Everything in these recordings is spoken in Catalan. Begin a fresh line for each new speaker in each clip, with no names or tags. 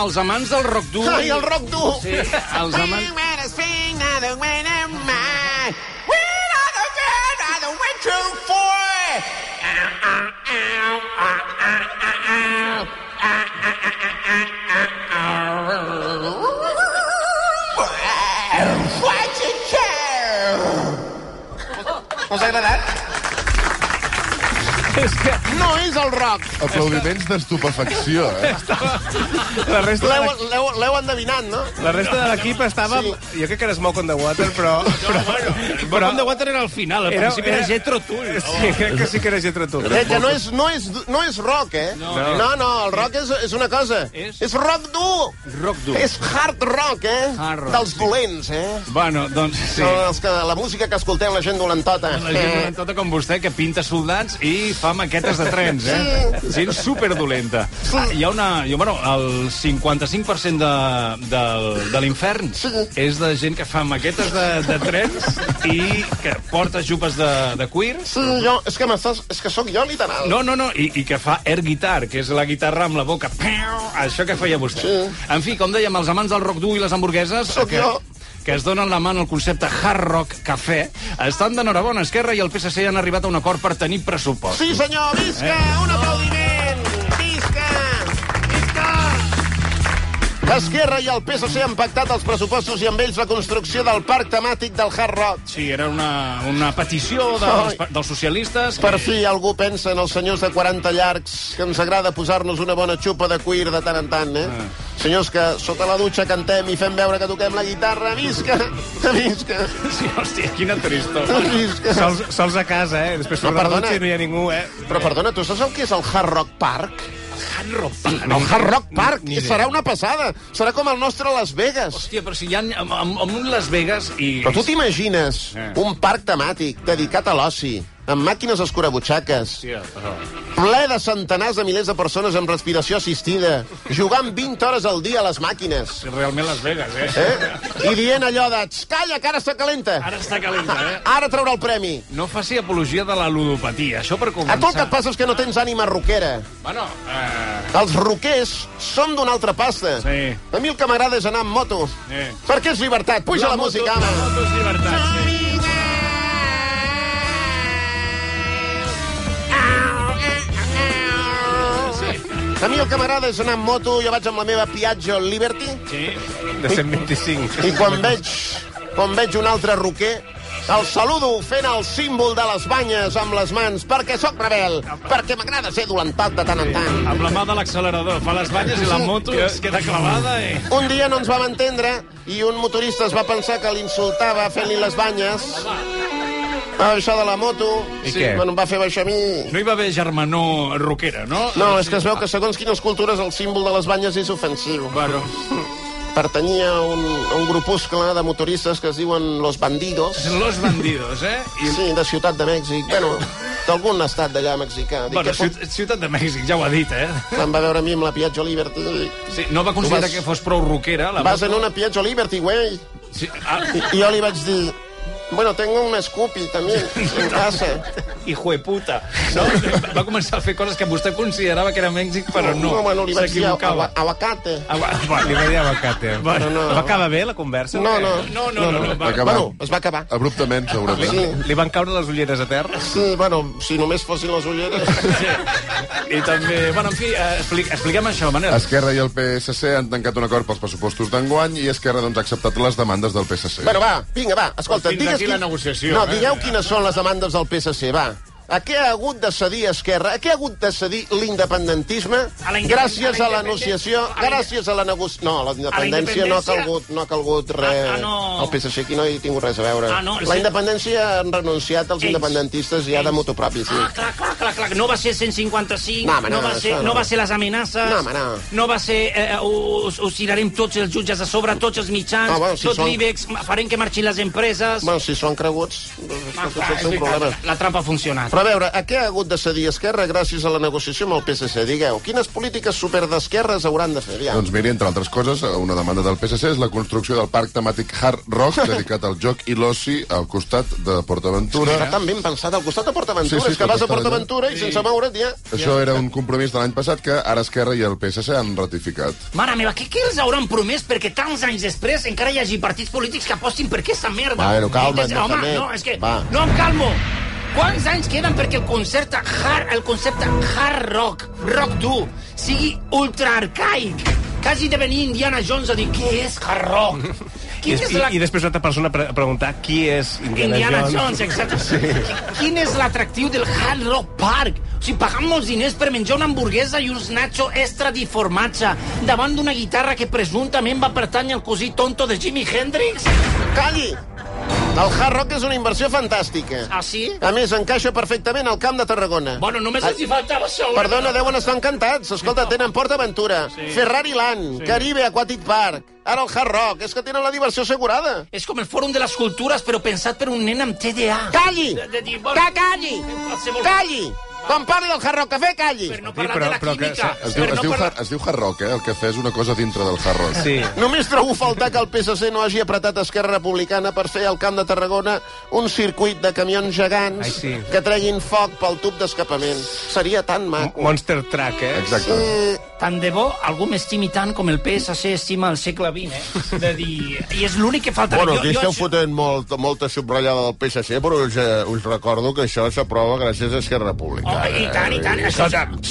els amants del rock dur.
Ai, el rock dur!
Sí, els amants...
Us ha agradat?
És que
No és el rock.
Aplaudiments d'estupefacció, eh?
la resta de l'equip-
L'heu- L'heu l'heu endevinat, no?
la resta de l'equip estava... Jo crec que era Smoke on the Water, però... però,
Però on de Water era al final, al principi era Jetro Tull.
Sí, crec que sí que era Jethro Tull.
Que, que no, és, no, és, no és rock, eh? No, no, no el rock és, és una cosa.
És?
és rock dur.
Rock dur.
És hard rock, eh?
Hard rock,
Dels dolents, eh?
Bueno, doncs sí.
Són els que, la música que escoltem la gent dolentota. Eh,
La gent dolentota com vostè, que pinta soldats i fa maquetes de trens, eh? Gent superdolenta. Ah, hi ha una... Jo, bueno, el 55% de, de, de l'infern és de gent que fa maquetes de, de trens i que porta jupes de, de cuir.
Sí, jo, és que m'estàs... És que sóc jo, literal.
No, no, no, i, i que fa air guitar, que és la guitarra amb la boca. Piu! Això que feia vostè. En fi, com dèiem, els amants del rock dur i les hamburgueses...
Sóc
que,
jo.
que es donen la mà en el concepte hard rock cafè, estan d'enhorabona. Esquerra i el PSC han arribat a un acord per tenir pressupost.
Sí, senyor, visca!
Eh.
Un aplaudiment! Visca! Visca! Esquerra i el PSC han pactat els pressupostos i amb ells la construcció del parc temàtic del Hard Rock.
Sí, era una, una petició dels, dels socialistes.
Per fi algú pensa en els senyors de 40 llargs que ens agrada posar-nos una bona xupa de cuir de tant en tant, eh?
Ah.
Senyors que sota la dutxa cantem i fem veure que toquem la guitarra. Visca! Visca!
Sí, hòstia, quina tristor.
Visca!
Sols, sols a casa, eh? Després surt no,
perdona.
no hi ha ningú, eh?
Però perdona, tu saps el que és el Hard Rock Park?
Hard rock. Park.
El Hard Rock Park
ni idea.
serà una passada. Serà com el nostre Las Vegas.
Hòstia, però si hi ha amb, amb, amb un Las Vegas i...
Però tu t'imagines
Eh.
un parc temàtic dedicat a l'oci, amb màquines escurabutxaques,
Hòstia, però...
ple de centenars de milers de persones amb respiració assistida, jugant 20 hores al dia a les màquines,
Realment Las Vegas, eh?
eh? i dient allò de "Tx, calla, que ara està calenta, Ah,
Ara està calenta, eh?
ara traurà el premi.
No faci apologia de la ludopatia, això per començar.
A tu el que et passa és que no tens ànima roquera.
Bueno, eh...
Els roquers són d'una altra pasta.
Sí.
A mi el que m'agrada és anar amb moto.
Sí.
Perquè és llibertat. Puja la, la
moto-
música,
La
home.
moto és llibertat, sí.
A mi el que m'agrada és anar amb moto, jo vaig amb la meva Piaggio Liberty,
sí.
De 125.
i quan veig, quan veig un altre roquer, el saludo fent el símbol de les banyes amb les mans, perquè sóc rebel, perquè m'agrada ser dolentat de tant en tant.
Amb la mà de l'accelerador. Fa les banyes i la moto es queda clavada i...
Un dia no ens vam entendre i un motorista es va pensar que l'insultava fent-li les banyes. Va baixar de la moto.
I què?
Bueno, em va fer baixar a mi.
No hi va haver germanor roquera, no?
No, és que es veu que segons quines cultures el símbol de les banyes és ofensiu.
Bueno,
Pertanyia a un, a un grupuscle de motoristes que es diuen Los Bandidos.
los bandidos, eh? I...
Sí, de Ciutat de Mèxic. Bueno, d'algun estat d'allà mexicà. Dic,
Bueno,
que pot...
Ciut Ciutat de Mèxic, ja ho ha dit, eh?
Em va veure a mi amb la Piaggio Liberty.
Sí, no va considerar
Tu vas-
que fos prou roquera. La
Vas en una Piaggio Liberty, güey.
Sí, ah,
I, i jo li vaig dir... Bueno, tengo un Scoopy, també, en casa.
hijo de puta. No? Va començar a fer coses que vostè considerava que era Mèxic, però no.
no bueno, li vaig dir
S'equivocava.
agu- aguacate.
Ah, va, va,
Li va dir abacate.
Bueno,
no.
Va acabar bé la conversa?
No, no.
No, no, no, no, va.
Acabar
Bueno, es va acabar.
abruptament, segurament.
Sí,
Li van caure les ulleres a terra?
sí, bueno, si només fossin les ulleres...
I també... Bueno, en fi, eh, expli expliquem això, Manel.
Esquerra i el PSC han tancat un acord pels pressupostos d'enguany i Esquerra doncs, ha acceptat les demandes del PSC.
Bueno, va, vinga, va, escolta,
Fins
digues...
aquí la negociació,
No,
eh?
digueu quines són les demandes del PSC, va. A què ha hagut de cedir Esquerra? A què ha hagut de cedir l'independentisme?
A la independ-
Gràcies a
a la
l'anunciació,
independ- a la inde-
gràcies a la negociació... No, la independència
independència-
no ha calgut, no ha calgut res.
Ah, ah, no.
El PSC aquí no hi he tingut res a veure.
Ah, no,
La
sí.
independència han renunciat els
Ells.
independentistes i ara moto propi, sí.
Ah, clar, clar, clar, clar. No va ser 155,
No, home, no,
no, va, ser,
això
no.
no.
va ser les amenaces,
No, home, no.
no va ser eh, us, us tirarem tots els jutges a sobre, tots els mitjans,
Ah, bueno, si
tot
són-
l'IBEX, farem que marxin les empreses...
Bueno, si són creguts, doncs, és el seu problema.
la, la trampa ha funcionat.
Però Però a veure, a què ha hagut de cedir Esquerra gràcies a la negociació amb el PSC? Digueu, quines polítiques superdesquerres hauran de fer? Aviam.
Doncs miri, entre altres coses, una demanda del PSC és la construcció del parc temàtic Hard Rock dedicat al joc i l'oci al costat de Portaventura.
Està tan ben pensat al costat de Portaventura.
Doncs, Sí, sí,
és que vas a
tot està
Portaventura i sense moure't ja...
Això era un compromís de l'any passat que ara Esquerra i el PSC han ratificat.
Mare meva, què, què els hauran promès perquè tants anys després encara hi hagi partits polítics que apostin per aquesta merda?
Bueno, calma't,
Entens? Home,
Mohamed.
no, és que...
Va.
No em calmo. Quants anys queden perquè el concert hard, el concepte hard rock, rock dur, sigui ultraarcaic? Que hagi de venir Indiana Jones a dir què és hard rock?
I,
Quina és la
i, I després una altra persona pre preguntar qui és Indiana,
Indiana
Jones.
Jones, eh? exacte. Qui- Quin és l'atractiu del Hard Rock Park? O sigui, pagant molts diners per menjar una hamburguesa i uns nacho extra di formatge davant d'una guitarra que presumptament va pertànyer al cosí tonto de Jimi Hendrix?
Calli! El Hard Rock és una inversió fantàstica.
Ah, sí?
A més, encaixa perfectament al Camp de Tarragona.
Bueno, només els hi faltava això. una
Perdona, deuen estar encantats. Escolta, tenen Port Aventura, Ferrari Land, Caribe Aquatic Park, ara el Hard Rock. És que tenen la diversió assegurada.
És com el Fòrum de les Cultures, però pensat per un nen amb TDA.
Calli!
De- de dir, bueno,
Que calli!
qualsevol-
Calli! Quan parli del Hard Rock Café, calli!
Per no
Sí,
parlar
però-
de la
però que
química.
se-
Es diu,
per
es
no
diu,
parlar-
hard, es diu hard Rock, eh? El cafè és una cosa dintre del Hard Rock.
Sí.
Només trobo a faltar que el PSC no hagi apretat Esquerra Republicana per fer al Camp de Tarragona un circuit de camions gegants
Ai, sí.
que treguin foc pel tub d'escapament. Seria tan maco.
Monster Truck, eh?
Exacte.
Tant de bo algú m'estimi tant com el PSC estima el segle XX, eh? De dir... I és l'únic que falta...
Bueno, aquí esteu
això-
fotent molt, molta subratllada del PSC, però us, eh, us recordo que això s'aprova gràcies a Esquerra Republicana.
Oh, I tant, i tant, això...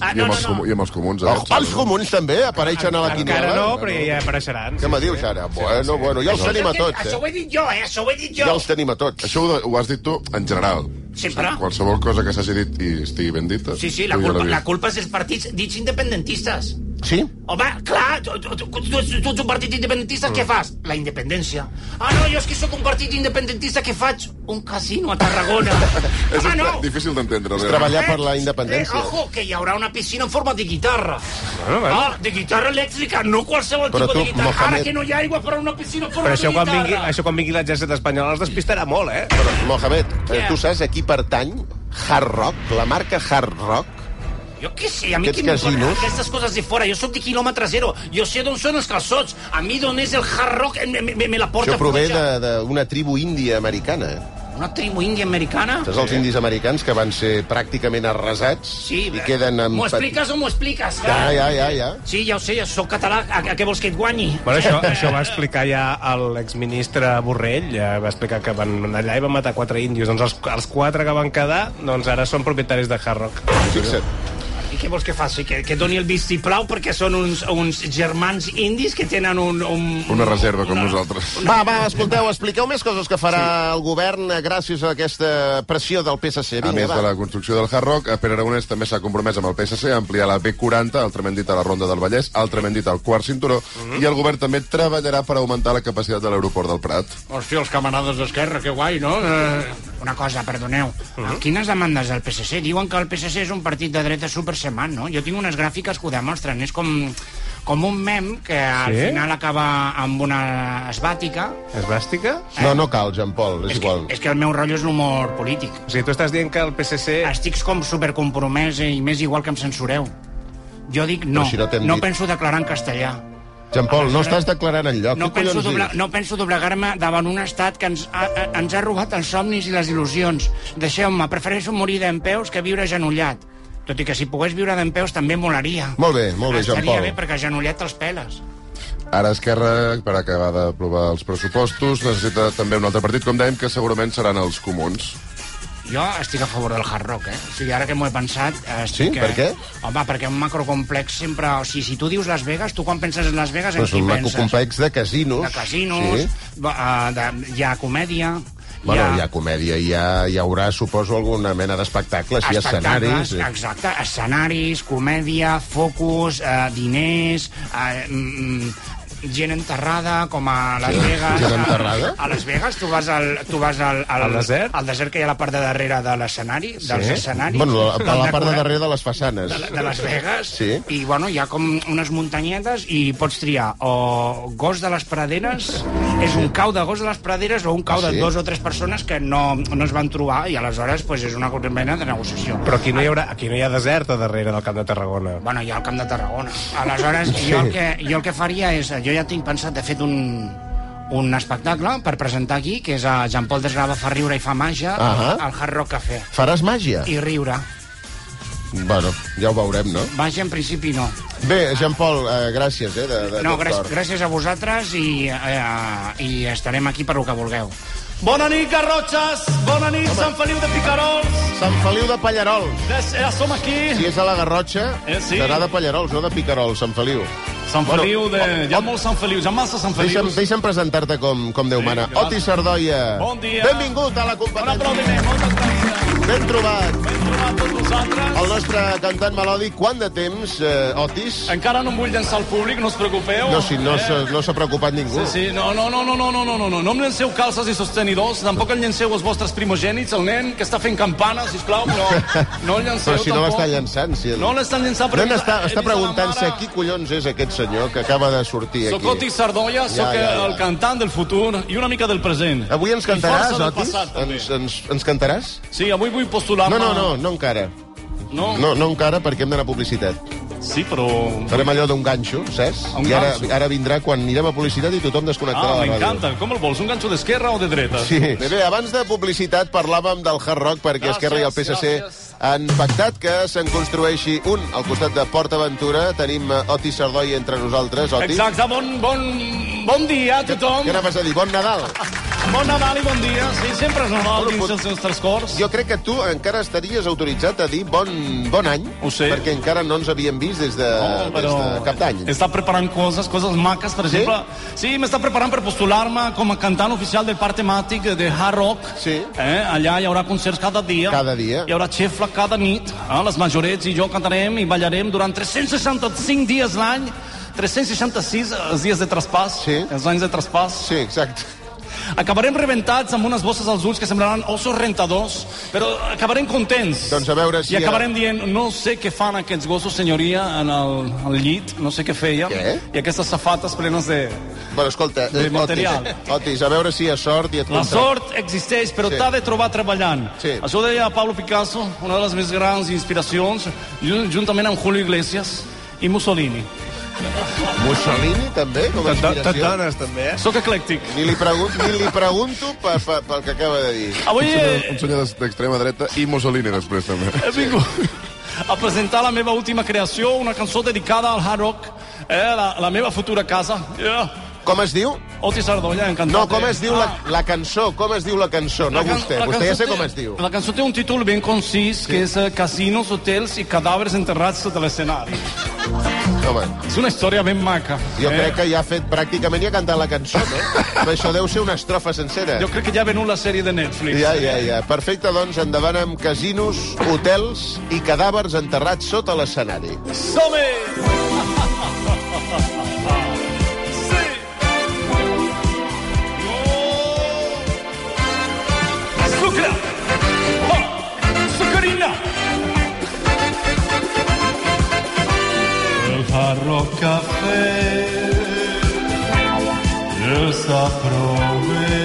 Ah,
I,
no,
amb
no,
els,
no.
comu- I amb els comuns. eh?
Oh, els comuns també apareixen a la quiniela?
Encara no, però ja apareixeran.
Què me dius ara? Bueno, bueno, ja els tenim a
Això que-
tots,
Això ho
eh?
he dit jo, eh? Això ho he dit jo.
Ja els tenim a tots.
Això ho, de- ho has dit tu en general.
Sempre.
Qualsevol cosa que s'hagi dit i estigui ben dita...
Sí, sí, la
tu ja
culpa,
l'havies-
la culpa és dels partits dits independentistes.
Sí?
Home, clar, tu, tu, tu, tu, ets- tu ets un partit independentista, què fas? La independència. Ah, no, jo és que sóc un partit independentista, que faig? Un casino a Tarragona.
És
Home,
un-
Ah, no!
difícil d'entendre. realment.
Treballar per la
Eh,
independència.
ojo, que hi haurà una piscina en forma de guitarra.
Bueno, bueno.
Ah, de guitarra elèctrica, no qualsevol
Però
tipus
tu,
de guitarra. Ara
Mohamed-
que no hi ha aigua, però una piscina en forma
Però això
de
quan,
guitarra.
vingui, això quan vingui l'exèrcit espanyol els despistarà molt, eh?
Però, Mohamed, eh,
Què?
tu saps a qui pertany Hard Rock, la marca Hard Rock?
Jo què sé, a mi
Aquests
qui em dona
casinos?
aquestes coses de fora. Jo sóc de quilòmetre zero. Jo sé d'on són els calçots. A mi d'on és el hard rock em- me, me, me la porta
Això prové
fluixa.
de- d'una tribu índia americana.
Una tribu índia americana?
Saps els indis americans que van ser pràcticament arrasats
Sí. eh.
i queden amb...
M'ho expliques o m'ho expliques?
Ja, ja, ja, ja.
Sí, ja ho sé, jo sóc català. A, a què vols que et guanyi?
Bueno, això, això ho va explicar ja l'exministre Borrell, ja va explicar que van anar allà i van matar quatre índios. Doncs els, els quatre que van quedar, doncs ara són propietaris de Hard Rock.
Fixa't.
I què vols que faci? Que, que doni el vistiplau perquè són uns, uns germans indis que tenen un... un...
Una reserva,
Ah.
com nosaltres.
Va, va, escolteu, expliqueu més coses que farà sí. el govern eh, gràcies a aquesta pressió del PSC.
A
Vinga,
més
va.
de la construcció del Hard Rock, Pere Aragonès també s'ha compromès amb el PSC a ampliar la B40, altrament dit a la Ronda del Vallès, altrament dit al quart cinturó,
Mhm.
i el govern també treballarà per augmentar la capacitat de l'aeroport del Prat.
Hòstia, els camarades d'Esquerra, que guai, no? Eh,
Una cosa, perdoneu. Quines demandes del PSC? Diuen que el PSC és un partit de dreta supersemant, no? Jo tinc unes gràfiques que ho demostren. És com, com un mem que al
Sí?
final acaba amb una esbàtica.
És bàstica?
No, no cal, Jean Paul, és,
És que,
igual.
és que el meu rotllo és l'humor polític.
O sigui, tu estàs dient que el PSC...
Estic com supercompromès i més igual que em censureu. Jo dic no,
si no t'hem
no
dit.
penso declarar en castellà.
Jean Paul, no estàs declarant enlloc.
No
Què
penso,
collons
dobla,
dius?
no penso doblegar-me davant un estat que ens ha, a- ens ha robat els somnis i les il·lusions. Deixeu-me, prefereixo morir d'empeus que viure genollat. Tot i que si pogués viure d'empeus també molaria.
Molt bé, molt
Ah,
bé, Jean
Estaria
Paul.
bé, perquè genollat els peles.
Ara Esquerra, per acabar d'aprovar els pressupostos, necessita també un altre partit, com dèiem, que segurament seran els comuns.
Jo estic a favor del hard rock, eh? O sigui, ara que m'ho he pensat...
Sí?
Estic, eh,
Per què?
Home, perquè un macrocomplex sempre... O sigui, si tu dius Las Vegas, tu quan penses en Las Vegas, en
Però és
qui
Doncs un maco
penses?
complex de casinos.
De casinos,
Sí.
sí. de, hi ha comèdia...
Bueno,
hi ha...
hi ha comèdia, hi, ha, hi haurà, suposo, alguna mena d'espectacles, hi ha
Espectacles,
escenaris... eh.
Exacte, escenaris, comèdia, focus, eh, diners... Eh, mm, mm,
gent enterrada, com a Las Vegas.
gent enterrada?
A, a Las Vegas tu vas al, tu vas al, al,
Al desert?
Al desert que hi ha a la part de darrere de l'escenari, dels
eh,
escenaris.
Bueno, la, la, la part de
Decorat-
darrere de les façanes.
de, la- de Las Vegas
Sí.
i bueno, hi ha com unes muntanyetes i pots triar o gos de les praderes és un cau de gos de les praderes o un cau
Ah, sí?
de dos o tres persones que no, no es van trobar i aleshores pues, és una mena de negociació
Però aquí no hi, haurà, aquí no hi ha desert a darrere del Camp de Tarragona.
Bueno, hi ha el Camp de Tarragona. Aleshores, jo el que, jo el que faria és... Jo ja tinc pensat, de fet, un, un espectacle per presentar aquí, que és a Jean-Paul Desgrava fa riure i fa màgia
Ahà.
al Hard Rock Café.
Faràs màgia?
I riure.
Bueno, ja ho veurem, no?
Màgia, en principi, no.
Bé, Jean-Paul, eh, gràcies, eh, de, de
No,
tot
gràcies,
cor.
gràcies a vosaltres i, eh, i estarem aquí per lo que vulgueu.
Bona nit, Garrotxes. Bona nit, Home. Sant Feliu de Picarols.
Sant Feliu de Pallarols.
Des, ja som aquí.
Si és a la Garrotxa,
Eh, sí.
serà de Pallarols, no de Picarols, Sant Feliu.
Sant
Bueno,
Feliu de...
oh,
Hi ha
oh.
molts Sant Felius, hi ha massa Sant
Deixa'm,
Felius.
deixa'm presentar-te com, com Déu mana.
clar.
Oti Sardoia.
Bon dia.
Benvingut a la
Un
competència.
aplaudiment, moltes gràcies.
Ben trobat.
Ben trobat tots vosaltres.
El nostre cantant melòdic, quant de temps, eh, Otis?
Encara no em vull llançar al públic, no us preocupeu.
No, si no s'ha no s'ha preocupat ningú.
Sí, sí, no, no, no, no, no, no, no, no, no, no em llenceu calces i sostenidors, tampoc en llenceu els vostres primogènits, el nen que està fent campana, sisplau, no, no el llenceu
Però si no
tampoc.
l'està llançant, si...
No l'estan llançant, però...
No, no, està,
he
està
vist a la
preguntant-se
mare-
qui collons és aquest senyor que acaba de sortir
Soc Oti
aquí.
Sardoia, sóc
Ja, ja, ja.
el cantant del futur i una mica del present.
Avui ens cantaràs,
I força del
Otis?
passat, també.
ens, ens, ens cantaràs?
Sí, avui vull postular-me...
No, no, no, no encara.
no.
No, no encara, perquè hem d'anar a publicitat.
Sí, però...
Farem allò d'un ganxo, saps?
Un
I ara,
ganxo.
ara vindrà quan anirem a publicitat i tothom desconnectarà
Ah,
la ràdio.
m'encanta. Com el vols, un ganxo d'esquerra o de dreta?
Sí. Bé, bé, abans de publicitat parlàvem del Hard Rock perquè
Gràcies,
Esquerra i el PSC
gràcies.
han pactat que se'n construeixi un al costat de Port Aventura. Tenim eh, Otis Sardoi entre nosaltres. Otis,
Exacte, bon, bon, bon dia a tothom.
què anaves a dir? Bon Nadal.
Bon Nadal i bon dia. Sí, sempre és Nadal
Bueno,
dins
pot-
els nostres cors.
Jo crec que tu encara estaries autoritzat a dir bon, bon any,
Ho sé.
perquè encara no ens havíem vist des de,
No, però
des de cap d'any.
Està preparant coses, coses maques, per
Sí?
exemple. Sí, m'està preparant per postular-me com a cantant oficial del parc temàtic de Hard Rock.
Sí.
Eh? Allà hi haurà concerts cada dia.
Cada dia.
Hi haurà xefla cada nit. Eh? Les majorets i jo cantarem i ballarem durant 365 dies l'any. 366 els dies de traspàs,
Sí.
els anys de traspàs.
Sí, exacte.
Acabarem rebentats amb unes bosses als ulls que semblaran ossos rentadors, però acabarem contents.
Doncs a veure si
I acabarem dient, no sé què fan aquests gossos, senyoria, en el, al llit, no sé què feien.
Què?
I aquestes safates plenes de...
Bueno, escolta,
De
eh,
material.
Otis, Otis, a veure si hi ha sort i et
La
contracten.
sort existeix, però
Sí.
t'ha de trobar treballant.
Sí.
Això ho deia Pablo Picasso, una de les més grans inspiracions, jun- juntament amb Julio Iglesias i Mussolini.
Mussolini, també, com a inspiració.
també, eh?
Soc eclèctic.
Ni li, pregun ni li pregunto pe- pe- pel que acaba de dir.
Avui
Un
he,
senyor d'es- d'extrema dreta i Mussolini després, també.
he vingut a presentar la meva última creació, una cançó dedicada al hard rock, eh, la, la meva futura casa. Yeah.
Com es diu?
Otis Sardolla, encantat.
No, com es diu la,
Ah.
la cançó? Com es diu la cançó? No
La can-
vostè,
la
vostè ja
cançó té-
sé
Eh.
com es diu.
La cançó té un títol ben concís, que és eh, Casinos, hotels i cadàvers enterrats sota l'escenari.
Home,
És una història ben maca.
jo crec que ja ha fet pràcticament i ha cantat la cançó, no? Però això deu ser una estrofa sencera.
Jo crec que ja ha venut la sèrie de Netflix.
Ja, ja, ja. Perfecte, doncs, endavant amb casinos, hotels i cadàvers enterrats sota l'escenari.
Som-hi! sí! Oh! Sucre! Oh! Sucarina! El Farro Café els aprove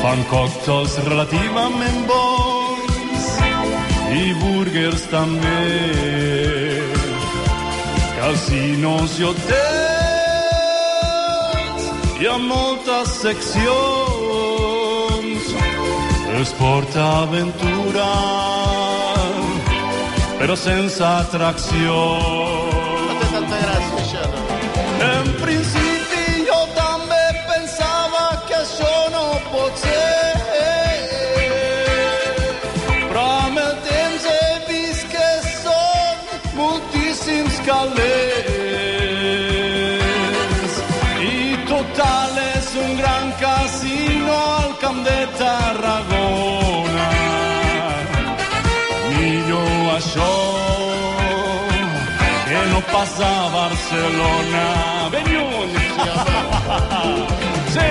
fan còctels relativament bons i burgers també casinos i hotels hi ha moltes seccions es porta aventura però sense atracció
No té tanta gràcia, això, no?
en principi jo també pensava que això no pot ser. Però amb el temps he vist que són moltíssims calés. I total és un gran casino al Camp de Tarragona. Millor això que no passa a Barcelona. Ben lluny. Sí,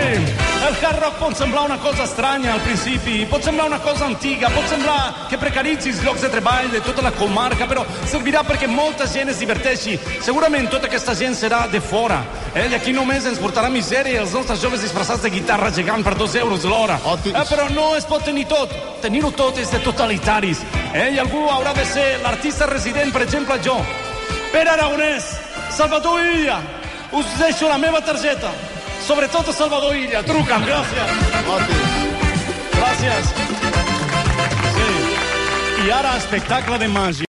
el hard rock pot semblar una cosa estranya al principi, pot semblar una cosa antiga, pot semblar que precaritzis llocs de treball de tota la comarca, però servirà perquè molta gent es diverteixi. Segurament tota aquesta gent serà de fora, eh? i aquí només ens portarà misèria els nostres joves disfressats de guitarra gegant per dos euros l'hora.
Oh, ti-
Eh, però no es pot tenir tot. Tenir-ho tot és de totalitaris. Eh? I algú haurà de ser l'artista resident, per exemple, jo. Pere Aragonès, Salvador Illa, us deixo la meva targeta. Sobretot a Salvador Illa, truca'm, gràcies. Gràcies. Sí. I ara, espectacle de màgia.